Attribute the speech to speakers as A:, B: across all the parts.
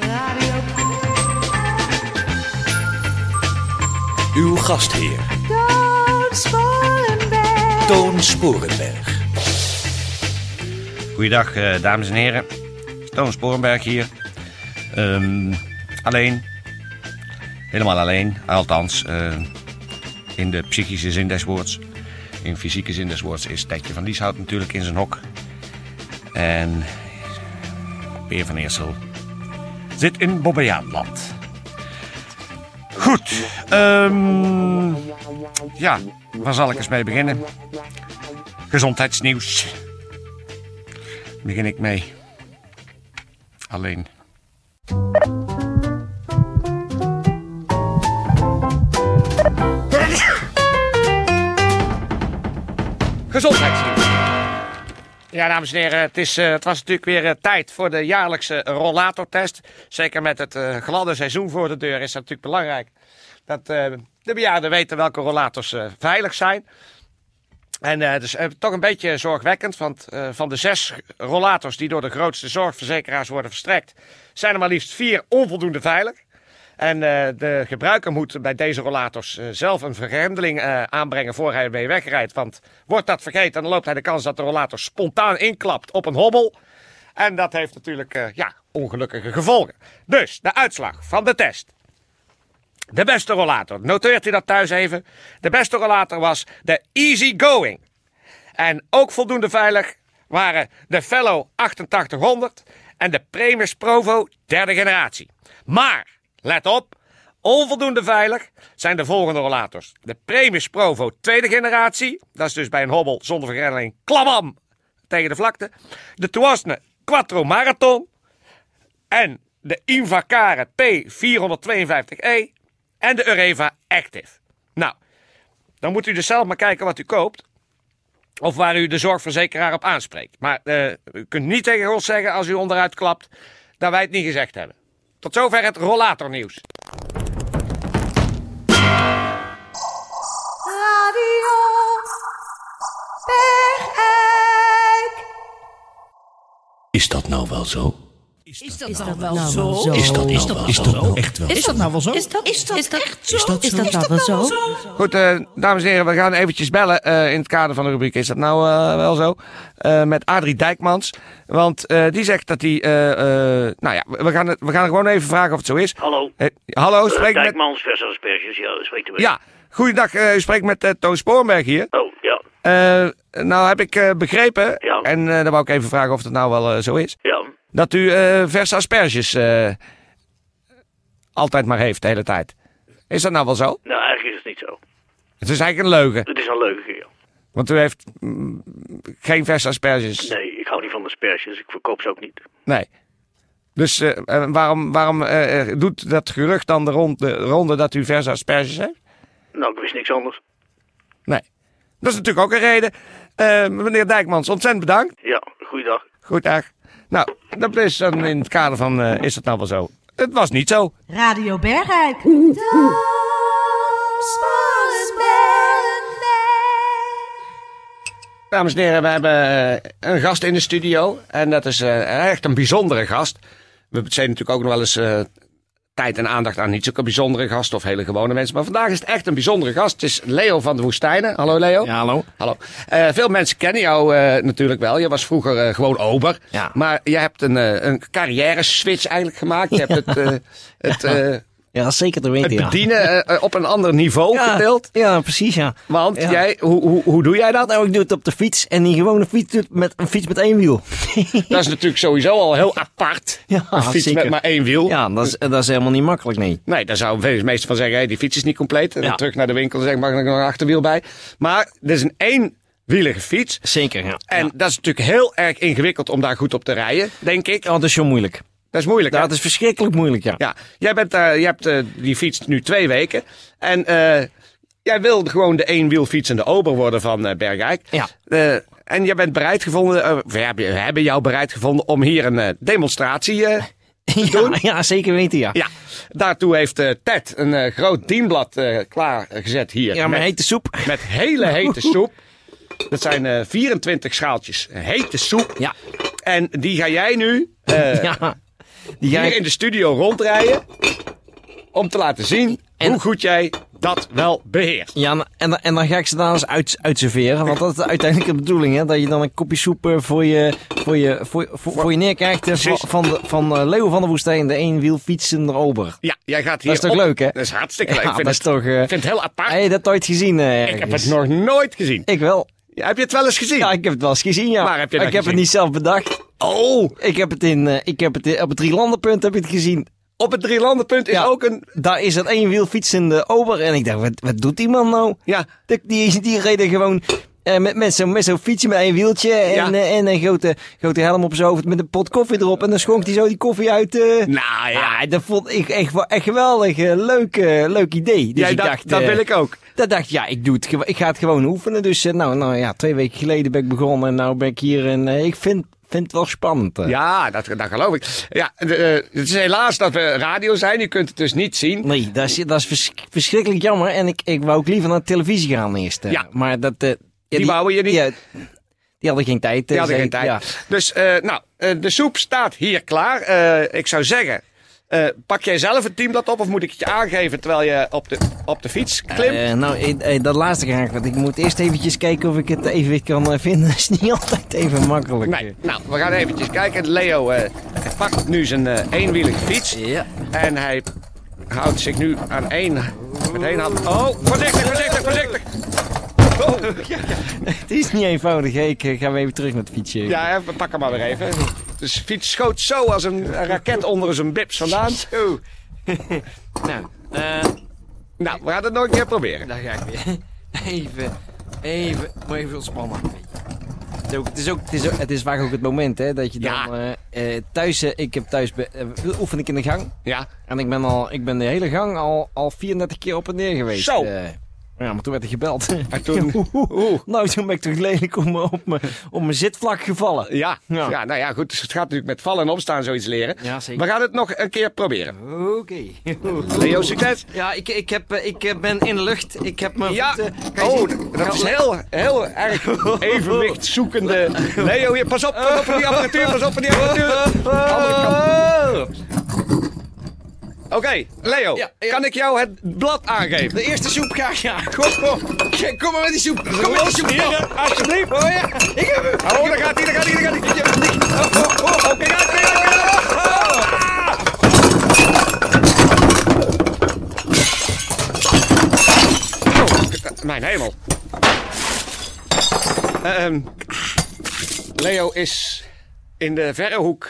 A: Radio
B: Uw gastheer,
A: Toon Sporenberg.
B: Toon Sporenberg.
C: Goeiedag, eh, dames en heren. Toon Sporenberg hier. Ehm, alleen. Helemaal alleen. Althans, eh, in de psychische zin des woords. In fysieke zin des woords is Tetje van Lieshout natuurlijk in zijn hok. En Peer van Eersel zit in Bobbejaanland. Goed. ehm, ja, waar zal ik eens mee beginnen? Gezondheidsnieuws begin ik mee. Alleen. Gezondheidsnieuws. Ja, dames en heren, het, is, eh, het was natuurlijk weer eh, tijd voor de jaarlijkse rollatortest. Zeker met het eh, gladde seizoen voor de deur is dat natuurlijk belangrijk. Dat eh, de bejaarden weten welke rollators eh, veilig zijn. En eh, dus eh, toch een beetje zorgwekkend, want eh, van de zes rollators die door de grootste zorgverzekeraars worden verstrekt, zijn er maar liefst vier onvoldoende veilig. En eh, de gebruiker moet bij deze rollators eh, zelf een vergrendeling eh, aanbrengen voor hij ermee wegrijdt. Want wordt dat vergeten, dan loopt hij de kans dat de rollator spontaan inklapt op een hobbel. En dat heeft natuurlijk eh, ja, ongelukkige gevolgen. Dus de uitslag van de test. De beste rollator, noteert u dat thuis even. De beste rollator was de Easy Going. En ook voldoende veilig waren de Fellow 8800 en de Premus Provo derde generatie. Maar, let op, onvoldoende veilig zijn de volgende rollators. De Premus Provo tweede generatie, dat is dus bij een hobbel zonder vergrendeling klamam tegen de vlakte. De Toasne Quattro Marathon en de Invacare P452E en de Ureva Active. Nou, dan moet u dus zelf maar kijken wat u koopt. Of waar u de zorgverzekeraar op aanspreekt. Maar eh, u kunt niet tegen ons zeggen als u onderuit klapt dat wij het niet gezegd hebben. Tot zover het rollatornieuws.
A: Radio Bergijk.
B: Is dat nou wel zo?
D: Is dat nou wel zo?
B: Is dat nou wel zo? Echt wel.
D: Is dat nou wel zo? Is dat, is dat, echt zo? Is dat, nou wel zo?
C: Goed, eh, dames en heren, we gaan eventjes bellen eh, in het kader van de rubriek. Is dat nou eh, wel zo? Eh, met Adrie Dijkmans. Want eh, die zegt dat hij... eh, eh, nou ja, we gaan, het- we gaan gewoon even vragen of het zo is.
E: Hallo.
C: Eh, hallo,
E: Eh,
C: spreek met...
E: Dijkmans versus asperges, ja, dat weet u wel.
C: Ja, goeiedag. eh, u spreekt met eh, Toon Spoornberg hier.
E: Oh, ja.
C: Eh, nou heb ik eh, begrepen,
E: Ja.
C: en eh, dan wou ik even vragen of dat nou wel eh, zo is,
E: Ja.
C: dat u eh verse asperges eh, altijd maar heeft de hele tijd. Is dat nou wel zo?
E: Nou, eigenlijk is het niet zo.
C: Het is eigenlijk een leugen,
E: Het is een leugen, ja.
C: want u heeft mm, geen verse asperges. Nee.
E: Nee, ik hou niet van asperges. Ik verkoop ze ook niet.
C: Dus eh, eh, waarom, waarom eh, eh, doet dat gerucht dan de ronde, de ronde dat u verse asperges heeft?
E: Nou, ik wist niks anders.
C: Nee. Dat is natuurlijk ook een reden. Eh, meneer Dijkmans, ontzettend bedankt.
E: Ja, goeiedag.
C: Goed, dag. Nou, dat is dan in het kader van eh, is dat nou wel zo? Het was niet zo.
D: Radio Bergijk.
A: Toon Sporenberg.
C: Dames en heren, we hebben eh, een gast in de studio. En dat is eh, echt een bijzondere gast. We besteden natuurlijk ook nog wel eens eh, tijd en aandacht aan niet zulke bijzondere gasten of hele gewone mensen. Maar vandaag is het echt een bijzondere gast. Het is Leo van de Woestijnen. Hallo Leo.
F: Ja, hallo.
C: Hallo. Eh, veel mensen kennen jou eh, natuurlijk wel. Je was vroeger eh, gewoon ober.
F: Ja.
C: Maar je hebt een, eh, een carrière switch eigenlijk gemaakt. Je hebt het, eh, het, eh,
F: Ja, zeker te
C: het
F: weten, ja.
C: bedienen eh, eh, op een ander niveau
F: ja,
C: gedeeld.
F: Ja, precies, ja.
C: Want
F: Ja.
C: jij, hoe, hoe, hoe doe jij dat?
F: Nou, ik doe het op de fiets en die gewone fiets doet met een fiets met één wiel.
C: Dat is natuurlijk sowieso al heel apart.
F: Ja,
C: een fiets
F: zeker.
C: met maar één wiel.
F: Ja, dat is, dat is helemaal niet makkelijk, nee.
C: Nee, daar zouden vele mensen van zeggen, hey, die fiets is niet compleet. En dan
F: Ja.
C: terug naar de winkel en zeg, mag ik er nog een achterwiel bij? Maar dit is een éénwielige fiets.
F: Zeker, ja.
C: En dat is natuurlijk heel erg ingewikkeld om daar goed op te rijden, denk ik.
F: Ja, dat is zo dus moeilijk.
C: Dat is moeilijk. hè?
F: Dat is verschrikkelijk moeilijk, ja.
C: Ja, jij bent daar, je hebt eh, die fiets nu twee weken. En eh, jij wil gewoon de eenwielfietsende ober worden van eh, Bergijk.
F: Ja.
C: Eh, en jij bent bereid gevonden, eh, we, hebben, we hebben jou bereid gevonden om hier een eh, demonstratie eh,
F: Ja, ja, zeker weten, ja.
C: ja, daartoe heeft eh, Ted een eh, groot dienblad eh, klaargezet hier.
F: Ja, maar
C: met,
F: hete soep.
C: met hele hete soep. Dat zijn eh, 24 schaaltjes hete soep.
F: Ja.
C: En die ga jij nu eh,
F: Ja. Die
C: hier
F: jij-
C: in de studio rondrijden. Om te laten zien
F: En-
C: hoe goed jij dat wel beheerst.
F: Ja, en- en, dan- en dan ga ik ze daar eens uit, uitserveren. Want dat is uiteindelijk de bedoeling, hè? Dat je dan een kopje soep eh, voor je, voor je, voor, voor, voor je neerkrijgt. eh, Van,
C: Precies.
F: van, de, van eh, Leo van der Woestijn, de eenwiel fietsende ober.
C: Ja, jij gaat hier
F: Dat is toch
C: op-
F: leuk, hè?
C: Dat is hartstikke
F: Ja,
C: leuk. ik vind
F: dat is
C: het,
F: toch, eh,
C: ik vind het heel apart.
F: Heb je dat ooit gezien? eh,
C: ik heb
F: ergens?
C: het nog nooit gezien.
F: Ik wel.
C: Heb je het wel eens gezien?
F: Ja, ik heb het wel eens gezien, ja.
C: Waar heb je dat
F: ik heb het
C: gezien?
F: niet zelf bedacht.
C: Oh,
F: Ik heb het in, eh, ik heb het in- op het Drielandenpunt heb ik het gezien.
C: op het drielandenpunt is
F: Ja.
C: ook een...
F: Daar is dat eenwiel fietsende ober. En ik dacht, wat, wat doet die man nou?
C: Ja,
F: Die, die, die reden gewoon eh, met, met zo'n met zo'n fietsje met een wieltje en,
C: Ja.
F: eh, en een grote, grote helm op zijn hoofd met een pot koffie erop. En dan schonk hij zo die koffie uit. eh.
C: nou ja.
F: Ah, dat vond ik echt, wel- echt geweldig. eh, leuk, eh, leuk idee. Dus
C: Jij
F: ik
C: dacht,
F: dacht,
C: dat
F: eh,
C: wil ik ook.
F: Dat dacht ik, ja, ik, doe het, gewo- ik ga het gewoon oefenen. Dus eh, nou, nou ja, twee weken geleden ben ik begonnen en nou ben ik hier. En eh, ik vind, vind het wel spannend. eh.
C: Ja, dat, dat geloof ik. Ja, de, eh, het is helaas dat we radio zijn. Je kunt het dus niet zien.
F: Nee, dat is, dat is vers- verschrikkelijk jammer. En ik, ik wou ook liever naar de televisie gaan eerst. eh.
C: Ja.
F: Maar dat... eh, ja,
C: Die wouden je niet.
F: Ja, die hadden geen tijd. eh,
C: Die hadden
F: zei
C: geen
F: ik.
C: tijd.
F: Ja.
C: Dus, eh, nou, eh, de soep staat hier klaar. Eh, ik zou zeggen, eh, pak jij zelf het teamblad op of moet ik het je aangeven terwijl je op de, op de fiets klimt?
F: Eh, nou, eh, eh, dat laatste ga ik, want ik moet eerst eventjes kijken of ik het evenwicht kan eh, vinden. Dat is niet altijd even makkelijk.
C: nee. Nou, we gaan eventjes kijken. Leo eh, pakt nu zijn eh, eenwielige fiets.
F: Ja.
C: En hij houdt zich nu aan één, met één hand. Oh, voorzichtig, voorzichtig, voorzichtig. Oh, ja.
F: Het is niet eenvoudig. hè. Ik eh, ga weer even terug naar het fietsje.
C: Ja, hè, pak hem maar weer even. De fiets schoot zo als een raket onder zijn bips vandaan.
F: Nou, eh,
C: Nou, we gaan het nog een keer proberen.
F: daar ga ik weer. Even, even, maar even ontspannen. Het is, ook, het, is ook, het, is ook- het is vaak ook het moment hè, dat je dan
C: Ja.
F: eh, eh, thuis, eh, ik heb thuis, be- eh, oefen ik in de gang.
C: Ja,
F: En ik ben, al, ik ben de hele gang al, al 34 keer op en neer geweest.
C: Zo.
F: Eh, ja, maar toen werd ik gebeld.
C: en toen...
F: Nou, toen ben ik toch lelijk op mijn- op mijn- op mijn zitvlak gevallen.
C: Ja, ja.
F: Ja.
C: nou ja, goed. Dus het gaat natuurlijk met vallen en opstaan zoiets leren.
F: Ja, zeker.
C: We gaan het nog een keer proberen.
F: Oké.
C: Leo, succes.
F: Ja, ik, ik, heb, eh, ik eh, ben in de lucht. Ik heb mijn
C: Ja,
F: voeten... Kan je
C: oh,
F: zien?
C: dat
F: Ga-
C: is heel, heel erg evenwicht zoekende. Leo, hier, pas op, pas op voor die apparatuur, pas op voor die apparatuur. Andere kant. Oké, Leo,
F: Ja, ja.
C: kan ik jou het blad aangeven?
F: De eerste soep ga ja.
C: Kom, kom.
F: Kom maar met die soep. Kom maar met die soep.
C: Heren, alsjeblieft. Oh ja,
F: Ik heb hem.
C: oh, daar gaat hij, daar gaat hij, daar gaat hij. Oh, oh, oh, kijk uit, kijk uit, kijk uit.
F: Ah!
C: Oh, mijn hemel. Ehm, Leo is in de verre hoek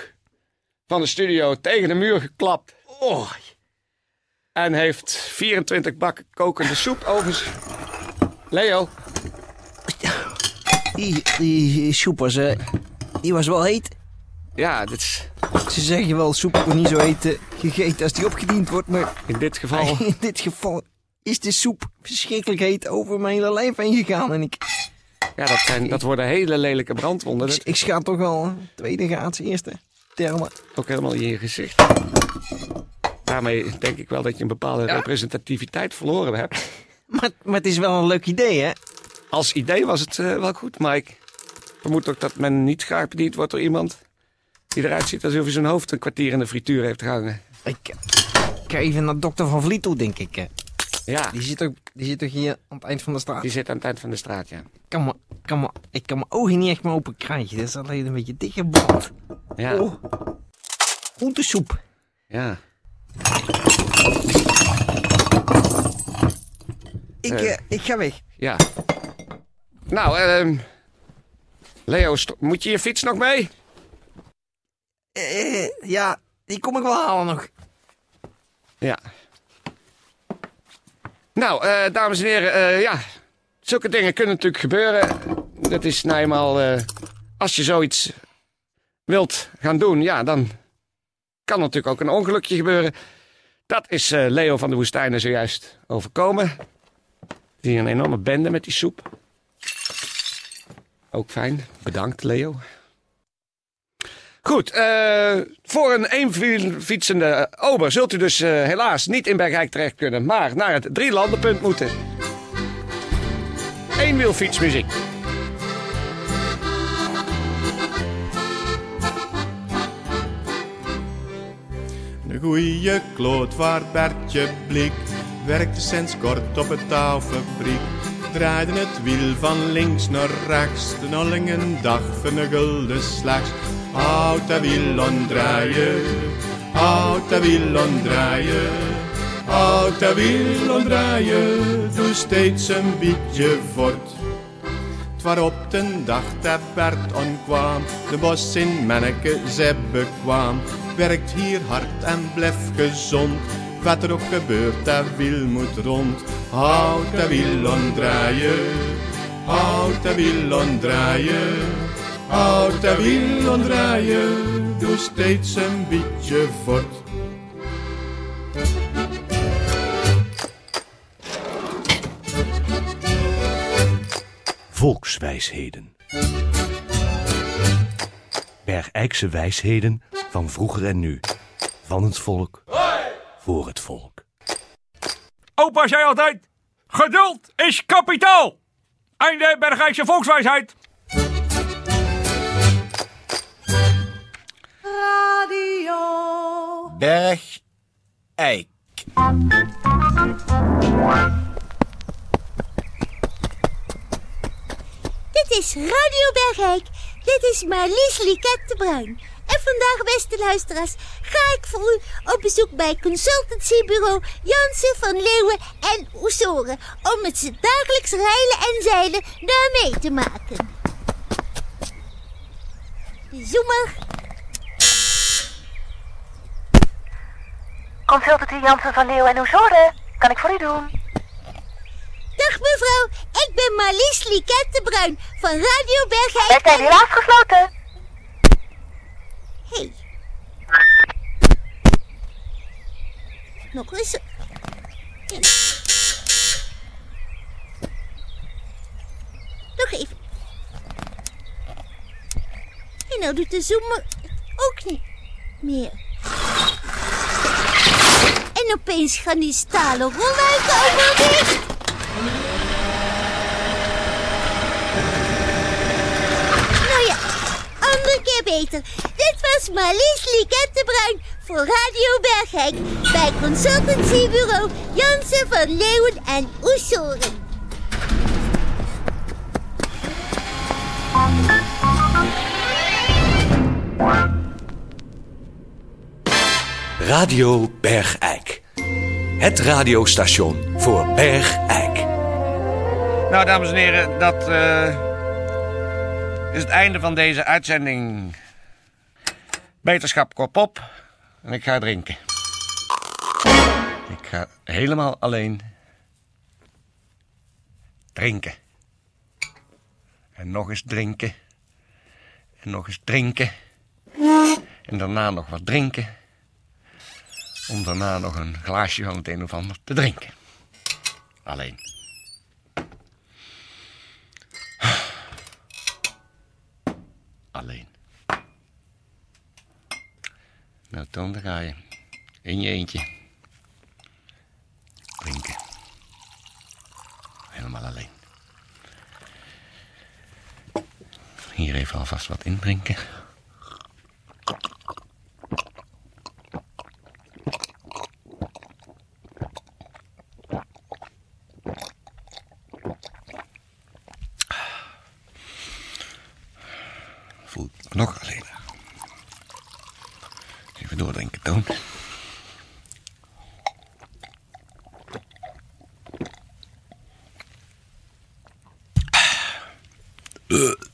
C: van de studio tegen de muur geklapt. En heeft 24 bakken kokende soep over zich. Leo,
F: Die, die soep was, eh, die was wel heet.
C: ja, dit is
F: Ze zeggen wel, soep wordt niet zo heet eh, gegeten als die opgediend wordt. Maar
C: in dit geval...
F: in dit geval is de soep verschrikkelijk heet over mijn hele lijf heen gegaan. En ik,
C: Ja, dat, zijn, dat worden hele lelijke brandwonden. Dat
F: ik schaat toch al eh, tweede graads, eerste. Termen.
C: ook helemaal in je gezicht. Daarmee denk ik wel dat je een bepaalde representativiteit verloren hebt.
F: Maar, maar het is wel een leuk idee, hè?
C: Als idee was het eh, wel goed, maar ik vermoed ook dat men niet graag bediend wordt door iemand... die eruit ziet alsof hij zijn hoofd een kwartier in de frituur heeft gehangen.
F: Ik, ik ga even naar dokter Van Vliet toe, denk ik. eh.
C: Ja,
F: Die zit, ook, die zit ook hier aan het eind van de straat.
C: die zit aan het eind van de straat, ja.
F: Ik kan me- ik kan me- ik kan mijn ogen niet echt meer open krijgen. Dat is alleen een beetje dichtgebrand.
C: Ja,
F: Oh. Groentesoep.
C: ja.
F: Ik,
C: Eh.
F: eh, ik ga weg.
C: ja. Nou, ehm Leo, sto- moet je je fiets nog mee?
F: Eh, eh, ja, die kom ik wel halen nog.
C: Ja. Nou, eh, dames en heren, eh, ja. Zulke dingen kunnen natuurlijk gebeuren. Dat is nou eenmaal. eh, als je zoiets wilt gaan doen, ja, dan kan natuurlijk ook een ongelukje gebeuren. Dat is eh, Leo van de Woestijnen zojuist overkomen. Die een enorme bende met die soep. Ook fijn. Bedankt, Leo. Goed, eh, voor een eenfietsende ober zult u dus eh, helaas niet in Bergijk terecht kunnen, maar naar het drielandenpunt moeten. Eenwielfietsmuziek.
G: Een goeie kloot waar Bertje Blik werkte sinds kort op een taalfabriek. Draaide het wiel van links naar rechts, de nolling een dag van een gulden slechts. Houd dat wiel aan draaien, houd dat wiel aan draaien, houd dat wiel aan draaien. Doe steeds een beetje voort. Het waarop de dag dat Bert onkwam, de bos in Menneke ze bekwam. Werkt hier hard en blijf gezond, wat er ook gebeurt, dat wiel moet rond. Houd dat wiel aan draaien, houd dat wiel aan draaien, houd dat wiel aan draaien. Doe steeds een beetje voort.
B: Volkswijsheden. Bergijkse wijsheden van vroeger en nu. Van het volk. Voor het volk.
H: Opa zei altijd: geduld is kapitaal. Einde Bergijkse volkswijsheid.
A: Radio.
I: Berg Eik.
J: Dit is Radio Bergijk. Dit is Marlies Liket de Bruin. En vandaag, beste luisteraars, ga ik voor u op bezoek bij consultancybureau Jansen van Leeuwen en Oesoren. Om het ze dagelijks reilen en zeilen daar mee te maken. De zoemer.
K: Consultancy Jansen van Leeuw en Oezore. Kan ik voor u doen?
J: Dag mevrouw, ik ben Marlies Liket de Bruin van Radio Bergijk.
K: Wij zijn
J: en-
K: helaas gesloten.
J: Hey. Nog eens. Nog even. En nou doet de zoomer ook niet meer. En opeens gaan die stalen rolluiken allemaal dicht. Nou ja, andere keer beter. Dit was Marlies Liket de Bruin voor Radio Bergijk bij consultancybureau Jansen van Leeuwen en Oesoren.
B: Radio Bergijk. Het radiostation voor Bergijk.
C: Nou, dames en heren, dat eh, is het einde van deze uitzending. Beterschap kop op en ik ga drinken. Ik ga helemaal alleen drinken. En nog eens drinken. En nog eens drinken. En daarna nog wat drinken. Om daarna nog een glaasje van het een of ander te drinken. Alleen. Alleen. Nou, Toon, daar ga je. In je eentje. Drinken. Helemaal alleen. Hier even alvast wat indrinken. Voel ik nog alleen. Even doordrinken, Toon. Eh.